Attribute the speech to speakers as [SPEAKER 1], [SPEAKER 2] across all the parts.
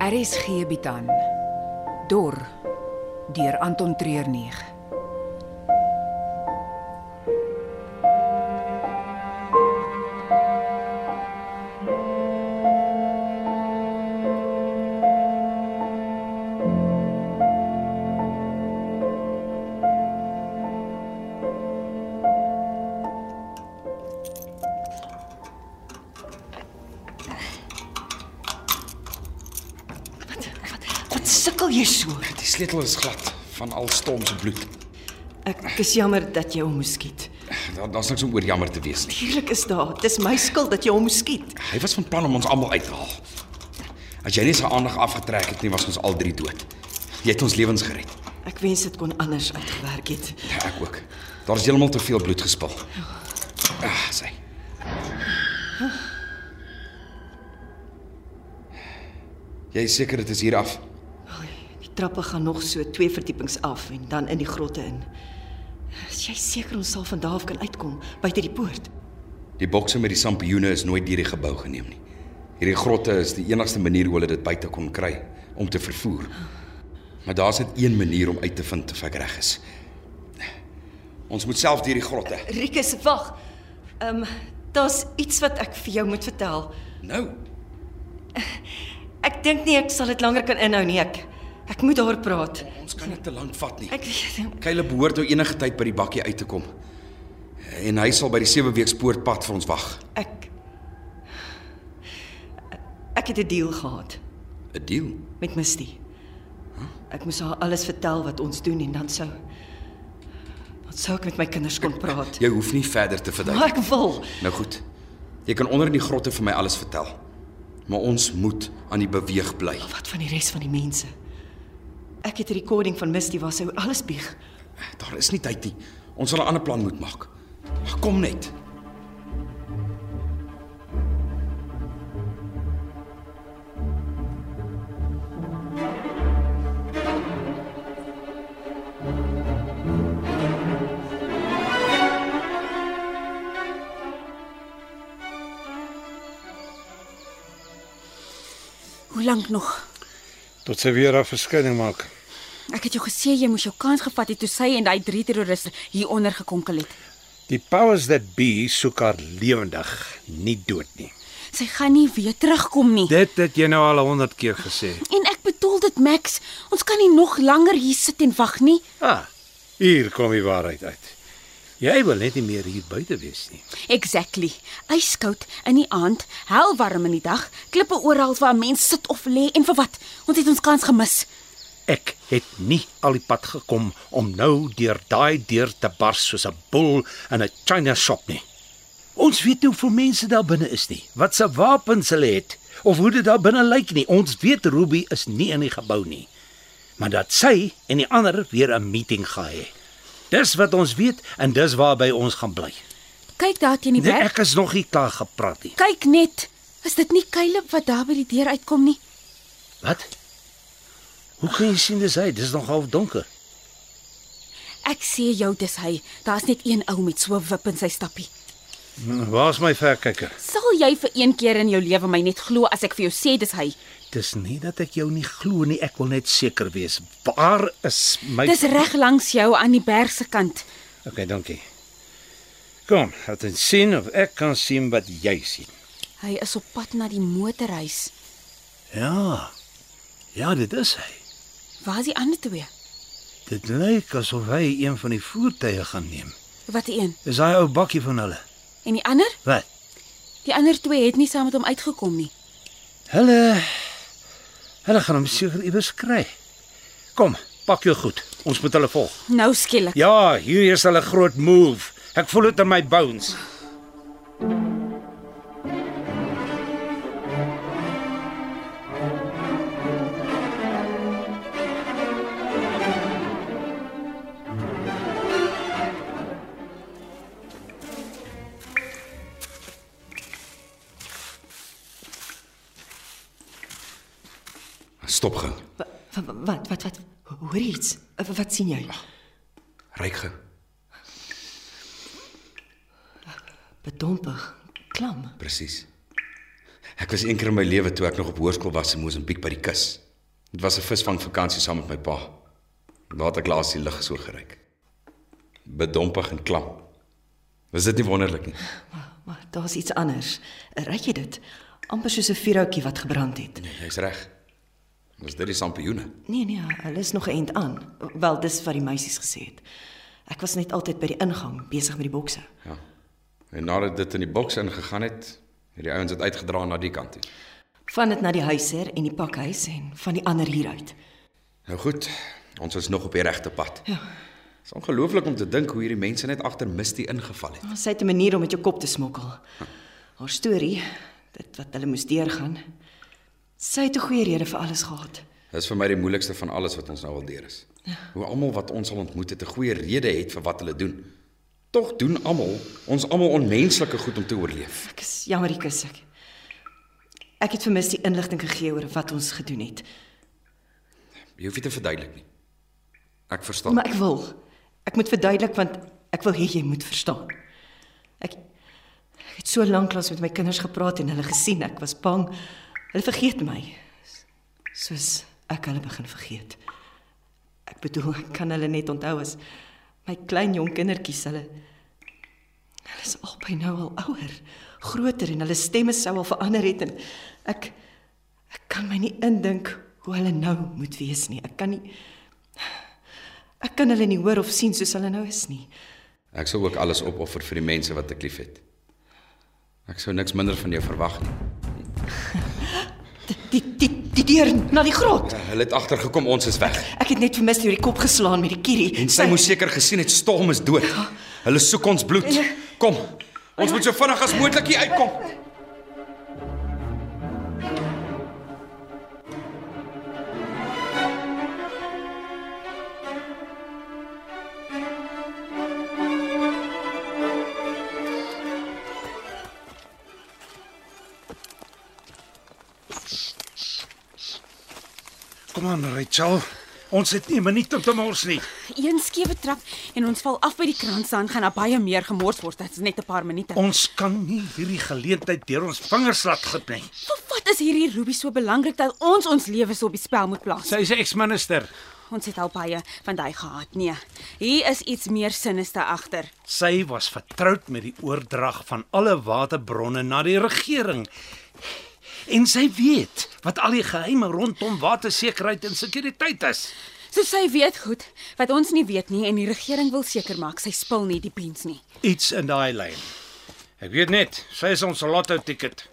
[SPEAKER 1] RSG bied aan Dor deur Anton Treurnig.
[SPEAKER 2] Wat sukkel jy so?
[SPEAKER 3] Die sleutel is glad van al Storm se bloed.
[SPEAKER 2] Ek is jammer dat jy hom moes skiet.
[SPEAKER 3] Daar daar's niks om oor jammer te wees nie.
[SPEAKER 2] Tuurlik is daar. Dis my skuld dat jy hom moes skiet.
[SPEAKER 3] Hy was van plan om ons almal uit te haal. As jy nie sy aandag afgetrek het nie, was ons al drie dood. Jy het ons lewens gered.
[SPEAKER 2] Ek wens dit kon anders uitgewerk het.
[SPEAKER 3] Ja, ek ook. Daar is heeltemal te veel bloed gespil. Ah, sy. Jy is seker dit is hier af.
[SPEAKER 2] Oei, die trappe gaan nog so twee verdiepings af en dan in die grotte in. Is jy seker ons sal van daar af kan uitkom buite die poort?
[SPEAKER 3] Die bokse met die sampioene is nooit deur die gebou geneem nie. Hierdie grotte is die enigste manier hoe hulle dit buite kon kry om te vervoer. Maar daar's net een manier om uit te vind of ek reg is. Ons moet self deur die grotte.
[SPEAKER 2] Rikus, wag. Ehm, um, daar's iets wat ek vir jou moet vertel.
[SPEAKER 3] Nou.
[SPEAKER 2] Ek dink nie ek sal dit langer kan inhou nie. Ek ek moet daar praat.
[SPEAKER 3] Ons kan nie te lank vat nie.
[SPEAKER 2] Ek weet nie.
[SPEAKER 3] Kyle behoort nou enige tyd by die bakkie uit te kom. En hy sal by die sewe week spoorpad vir ons wag.
[SPEAKER 2] Ek ek het 'n deal gehad.
[SPEAKER 3] 'n Deal.
[SPEAKER 2] met Misty. Ek moes haar alles vertel wat ons doen en dan sou dan sou ek met my kinders kon praat.
[SPEAKER 3] Jy hoef nie verder te verduidelik.
[SPEAKER 2] Maar ek wil.
[SPEAKER 3] Nou goed. Jy kan onder in die grotte vir my alles vertel. Maar ons moet aan die beweeg bly.
[SPEAKER 2] Wat van die res van die mense? Ek het 'n recording van Misty waar sy oor alles bieg.
[SPEAKER 3] Daar is nie tyd nie. Ons sal 'n ander plan moet maak. Kom net.
[SPEAKER 4] Hoe lank nog?
[SPEAKER 5] Tot sy weer haar verskyning maak.
[SPEAKER 4] Ek het jou gesê jy moes jou kans gevat het toe sy en daai drie terroriste hieronder gekonkel het.
[SPEAKER 5] Die powers that be soek haar lewendig, nie dood nie.
[SPEAKER 4] Sy gaan nie weer terugkom nie.
[SPEAKER 5] Dit het jy nou al 100 keer gesê.
[SPEAKER 4] En ek bedoel dit Max, ons kan nie nog langer hier sit en wag nie.
[SPEAKER 5] Ah, hier kom die waarheid uit. Jy wil net nie meer hier buite wees nie.
[SPEAKER 4] Exactly. Yskoud in die aand, helwarm in die dag, klippe oral waar mense sit of lê en vir wat? Ons het ons kans gemis.
[SPEAKER 5] Ek het nie al die pad gekom om nou deur daai deur te bars soos 'n bul in 'n China shop nie. Ons weet nie hoeveel mense daar binne is nie, wat se wapens hulle het of hoe dit daar binne lyk nie. Ons weet Ruby is nie in die gebou nie. Maar dat sy en die ander weer 'n meeting gaan hê. Dis wat ons weet en dis waarby ons gaan bly.
[SPEAKER 4] Kyk daar teen die
[SPEAKER 5] Nee,
[SPEAKER 4] berg.
[SPEAKER 5] ek is nog nie klaar gepraat nie.
[SPEAKER 4] Kyk net. Is dit nie Caleb wat daar by die deur uitkom nie?
[SPEAKER 5] Wat? Hoe kan jy sien dis hy? Dis nog half donker.
[SPEAKER 4] Ek sê jou dis hy. Daar's net een ou met so 'n wip in sy stappie.
[SPEAKER 5] Waar's Hm, my verkyker?
[SPEAKER 4] Sal jy vir een keer in jou lewe my net glo as ek vir jou sê dis hy?
[SPEAKER 5] Dis nie dat ek jou nie glo nie, ek wil net seker wees. Waar is my
[SPEAKER 4] Dis reg langs jou aan die berg se kant.
[SPEAKER 5] Okay, dankie. Kom, laat ons sien of ek kan sien wat jy sien.
[SPEAKER 4] Hy is op pad na die motorhuis.
[SPEAKER 5] Ja. Ja, dit is hy.
[SPEAKER 4] Waar is die ander twee?
[SPEAKER 5] Dit lyk asof hy een van die voertuie gaan neem.
[SPEAKER 4] Wat die een?
[SPEAKER 5] Dis daai ou bakkie van hulle.
[SPEAKER 4] En die ander?
[SPEAKER 5] Wat?
[SPEAKER 4] Die ander twee het nie saam met hom uitgekom nie.
[SPEAKER 5] Hulle Hulle gaan hom seker iewers kry. Kom, pak jou goed. Ons moet hulle volg.
[SPEAKER 4] Nou skielik.
[SPEAKER 5] Ja, hier is hulle groot move. Ek voel dit in my bones.
[SPEAKER 3] Stop gou.
[SPEAKER 2] Wa- wa- wa- Wat wat wat hoor jy iets? Wa- Wat sien jy?
[SPEAKER 3] Ryk gou.
[SPEAKER 2] Bedompig, klam.
[SPEAKER 3] Presies. Ek was eendag in my lewe toe ek nog op hoërskool was in Mosambiek by die kus. Dit was 'n visvangvakansie saam met my pa. Daar het ek laas die lug so geryk. Bedompig en klam. Was dit nie wonderlik nie?
[SPEAKER 2] Maar daar's iets anders. Ry jy dit? amper soos 'n vuurhoutjie wat gebrand het.
[SPEAKER 3] Nee, jy's reg. Was dit die sampioene?
[SPEAKER 2] Nee nee, hulle is nog 'n end aan. Wel, dis wat die meisies gesê het. Ek was net altyd by die ingang besig met die bokse.
[SPEAKER 3] Ja. En nadat dit in die boks ingegaan het, het die ouens dit uitgedra na die kant toe.
[SPEAKER 2] Van dit na die huiser en die pakhuis en van die ander hieruit.
[SPEAKER 3] Nou goed, ons is nog op die regte pad.
[SPEAKER 2] Ja.
[SPEAKER 3] Dit is ongelooflik om te dink hoe hierdie mense net agter Misty ingeval het.
[SPEAKER 2] Sy het 'n manier om met jou kop te smokkel. Haar storie, dit wat hulle moes deurgaan. Sy het 'n goeie rede vir alles gehad.
[SPEAKER 3] Dis vir my die moeilikste van alles wat ons nou al deur is. Hoe almal wat ons al ontmoet het 'n goeie rede het vir wat hulle doen. Tog doen almal, ons almal onmenslike goed om te oorleef.
[SPEAKER 2] Ek is jammer, ek is ek. Ek het vermis die inligting gegee oor wat ons gedoen het.
[SPEAKER 3] Jy hoef dit te verduidelik nie. Ek verstaan.
[SPEAKER 2] Maar ek wil. Ek moet verduidelik want ek wil hê jy moet verstaan. Ek ek het so lank lank met my kinders gepraat en hulle gesien ek was bang. Hulle vergeet my. Soos ek hulle begin vergeet. Ek bedoel, ek kan hulle net onthou as my klein jong kindertjies hulle. Hulle is albei nou al ouer, groter en hulle stemme sou al verander het en ek ek kan my nie indink hoe hulle nou moet wees nie. Ek kan nie Ek kan hulle nie hoor of sien soos hulle nou is nie.
[SPEAKER 3] Ek sou ook alles opoffer vir die mense wat ek liefhet. Ek sou niks minder van jou verwag nie.
[SPEAKER 2] Die die die, die deur na die grot.
[SPEAKER 3] Hulle het agtergekom ons is weg.
[SPEAKER 2] Ek het net vir Misty oor die kop geslaan met die kierie.
[SPEAKER 3] En sy moes seker gesien het Storm is dood. Hulle soek ons bloed. Kom. Ons moet so vinnig as moontlik hier uitkom.
[SPEAKER 5] Kom aan, Rachel. Ons het nie 'n minuut om te mors nie.
[SPEAKER 4] Een skewe trap en ons val af by die kraan staan gaan daar baie meer gemors word. Dit's net 'n paar minute.
[SPEAKER 5] Ons kan nie hierdie geleentheid deur ons vingers laat glip nie.
[SPEAKER 4] Vir wat is hierdie Ruby so belangrik dat ons ons lewens op die spel moet plaas?
[SPEAKER 5] Sy is 'n eksminister.
[SPEAKER 4] Ons het al baie van daai gehad. Nee, hier is iets meer sinister agter.
[SPEAKER 5] Sy was vertroud met die oordrag van alle waterbronne na die regering. En sy weet wat al die geheime rondom watersekerheid en sekuriteit is.
[SPEAKER 4] So sy weet goed wat ons nie weet nie en die regering wil seker maak sy spil nie die pens nie.
[SPEAKER 5] Iets in daai lyn. Ek weet net, sy is ons lotto ticket.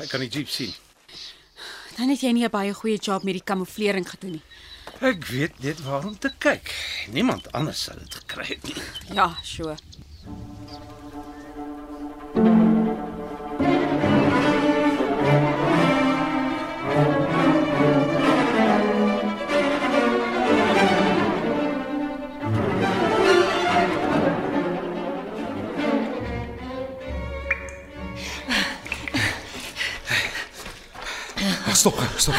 [SPEAKER 5] Ek kan die jeep sien.
[SPEAKER 4] Dan het jy nie 'n baie goeie job met die kamouflering gedoen nie.
[SPEAKER 5] Ek weet net waar om te kyk. Niemand anders sal dit gekry het nie.
[SPEAKER 4] Ja, sure.
[SPEAKER 3] Ah, Stop, stop.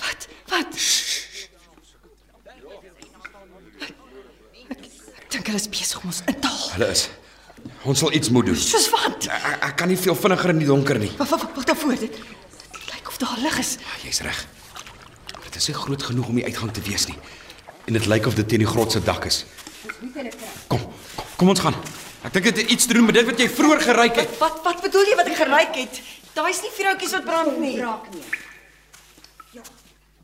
[SPEAKER 2] Wat? Wat? Ek, ek dink hulle is besig om ons in te haal.
[SPEAKER 3] Hulle is. Ons sal iets moet doen.
[SPEAKER 2] Soos wat?
[SPEAKER 3] Ek, ek kan nie veel vinniger in die donker nie.
[SPEAKER 2] Wat wat wat daarvoor dit? dit Lyk of daar lig is.
[SPEAKER 3] Ah, Jy's reg. Maar Dit is nie groot genoeg om die uitgang te wees nie. En dit lyk of dit teen die grot se dak is. Kom, kom, kom ons gaan. Ek dink dit het iets te doen met dit wat jy vroeër geryk het.
[SPEAKER 2] Wat wat bedoel jy wat ek geruik het? Daai's nie vuurhoutjies wat brand nie.
[SPEAKER 6] raak nie. Ja.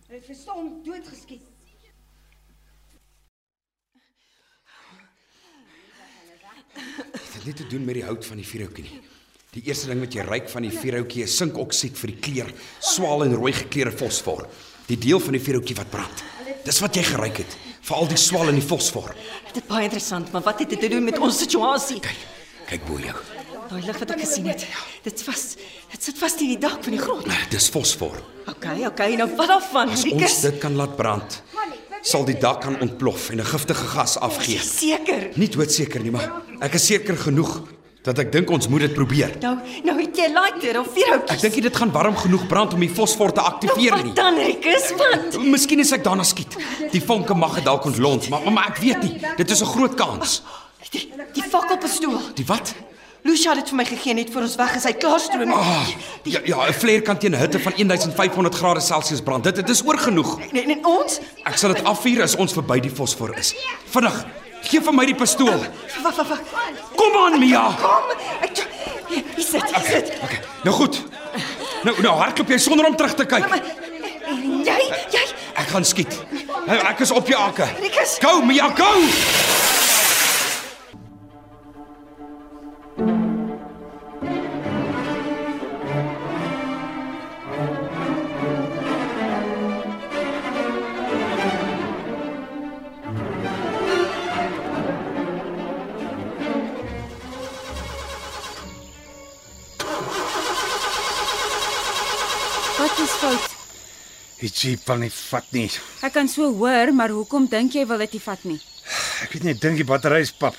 [SPEAKER 6] Hulle het vir Storm doodgeskiet.
[SPEAKER 3] Dit het net te doen met die hout van die vuurhoutjie nie. Die eerste ding wat jy ryk van die vuurhoutjie is sinkoksied vir die kleur, swaal en rooi gekleurde fosfor. Die deel van die vuurhoutjie wat brand. Dis wat jy geryk het, veral die swaal en die fosfor.
[SPEAKER 2] Dit is baie interessant, maar wat het dit te doen met ons situasie?
[SPEAKER 3] Kyk bo jou.
[SPEAKER 2] Daai lig wat ek gesien het.
[SPEAKER 6] Ja.
[SPEAKER 2] Dit vas. Dit sit vas teen die dak van die grot.
[SPEAKER 3] Dis fosfor.
[SPEAKER 2] OK, OK, nou wat daarvan?
[SPEAKER 3] As
[SPEAKER 2] Rikus?
[SPEAKER 3] ons dit kan laat brand, sal die dak kan ontplof en 'n giftige gas afgee.
[SPEAKER 2] Is jy seker.
[SPEAKER 3] Nie doodseker nie, maar ek is seker genoeg dat ek dink ons moet dit probeer.
[SPEAKER 2] Nou, nou het jy lighter of
[SPEAKER 3] Ek
[SPEAKER 2] vuurhoutjies.
[SPEAKER 3] dink nie dit gaan warm genoeg brand om die fosfor te aktiveer nie.
[SPEAKER 2] Wat dan, Rikus? Wat?
[SPEAKER 3] Miskien as ek daarna skiet. Die vonke mag dit dalk ontlont, maar maar ek weet nie. Dit is 'n groot kans.
[SPEAKER 2] Die, die fakkelpistool.
[SPEAKER 3] Die wat?
[SPEAKER 2] Lucia het dit vir my gegee net voor ons weg is. Hy klaarstroom.
[SPEAKER 3] Ah, ja ja, 'n flare kan teen 'n hitte van 1500 grade Celsius brand. Dit dit is oorgenoeg.
[SPEAKER 2] Nee, nee, ons?
[SPEAKER 3] Ek sal dit afvuur as ons verby die fosfor is. Vinnig, gee vir my die pistool.
[SPEAKER 2] Wag, wag, wag.
[SPEAKER 3] Kom aan, Mia.
[SPEAKER 2] Kom. Ek Hier, hier sit, hier sit.
[SPEAKER 3] Okay, nou goed. Nou nou hardloop jy sonder om terug te
[SPEAKER 2] Ja,
[SPEAKER 3] kyk.
[SPEAKER 2] En Jy, jy.
[SPEAKER 3] Ek gaan skiet. Nou ek is op jou akke.
[SPEAKER 2] Rikus.
[SPEAKER 3] Go, Mia, go.
[SPEAKER 4] Wat is fout?
[SPEAKER 5] Die jeep wil nie vat nie.
[SPEAKER 4] Ek kan so hoor, maar hoekom dink jy wil dit nie vat nie?
[SPEAKER 5] Ek weet net dink die battery is pap.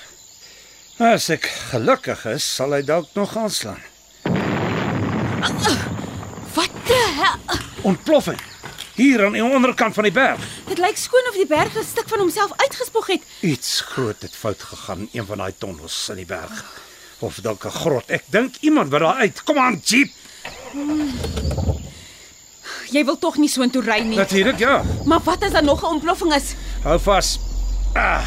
[SPEAKER 5] Nou, As ek gelukkig is, sal hy dalk nog aanslaan.
[SPEAKER 4] Wat die hel?
[SPEAKER 5] Ontploffing hier aan die onderkant van die berg.
[SPEAKER 4] Dit lyk skoon of die berg 'n stuk van homself uitgespog het.
[SPEAKER 5] Iets groot het fout gegaan in een van daai tonnels in die berg. Of dalk 'n grot. Ek dink iemand wil daar uit. Kom aan, jeep.
[SPEAKER 4] Jy wil tog nie soontoe ry nie.
[SPEAKER 5] Natuurlik, ja.
[SPEAKER 4] Maar wat as daar nog 'n ontploffing is?
[SPEAKER 5] Hou vas. Ah,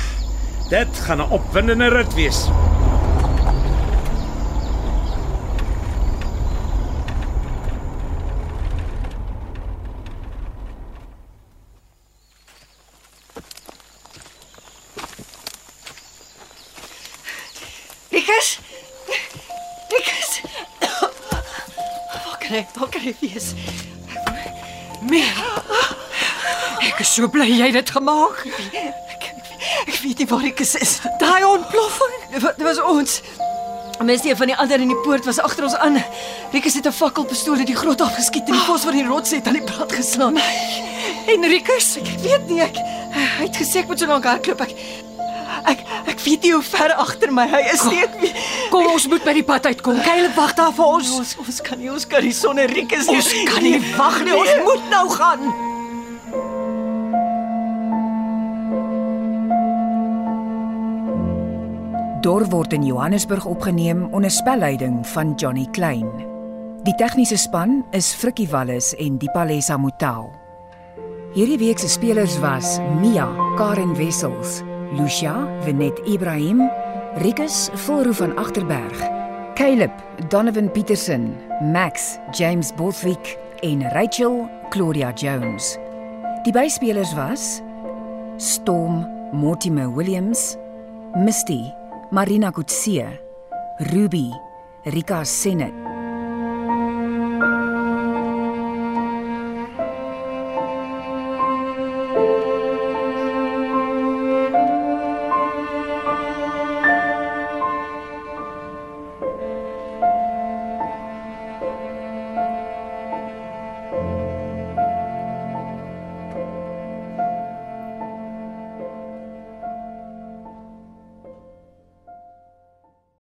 [SPEAKER 5] dit gaan 'n opwindende rit wees.
[SPEAKER 2] Rikus. Rikus. Waar kan ek? Waar kan ek wees?
[SPEAKER 1] Meer. Ek is so bly jy het dit gemaak.
[SPEAKER 2] Ek, ek weet nie waar Rikus is.
[SPEAKER 1] Daai ontploffing.
[SPEAKER 2] Dit was ons. Mense een van die ander in die poort was agter ons aan. Rikus het 'n fakkelpistool uit die grot afgeskiet en die fosfor in die rots het aan die brand geslaan. En Rikus, ek weet nie ek hy het gesê ek moet so lank hardloop. Ek ek ek weet nie hoe ver agter my hy is nie. Ek weet,
[SPEAKER 1] Kom ons moet by die pad uitkom. Kylie wag daar vir ons.
[SPEAKER 2] ons ons kan nie ons kan nie sonder Rikus nie.
[SPEAKER 1] Ons kan nie wag nie. Ons moet nou gaan.
[SPEAKER 7] Dor word in Johannesburg opgeneem onder spelleiding van Johnny Klein. Die tegniese span is Frikkie Wallis en Dipalesa Motelo. Hierdie week se spelers was Mia, Karen Wessels, Lucia, Venet Ibrahim, Rikus Volroo van Agterberg, Caleb, Donovan Petersen, Max, James Bothwick en Rachel Claudia Jones. Die byspelers was Storm Mortimer Williams, Misty, Marina Kutse, Ruby, Rika Senet,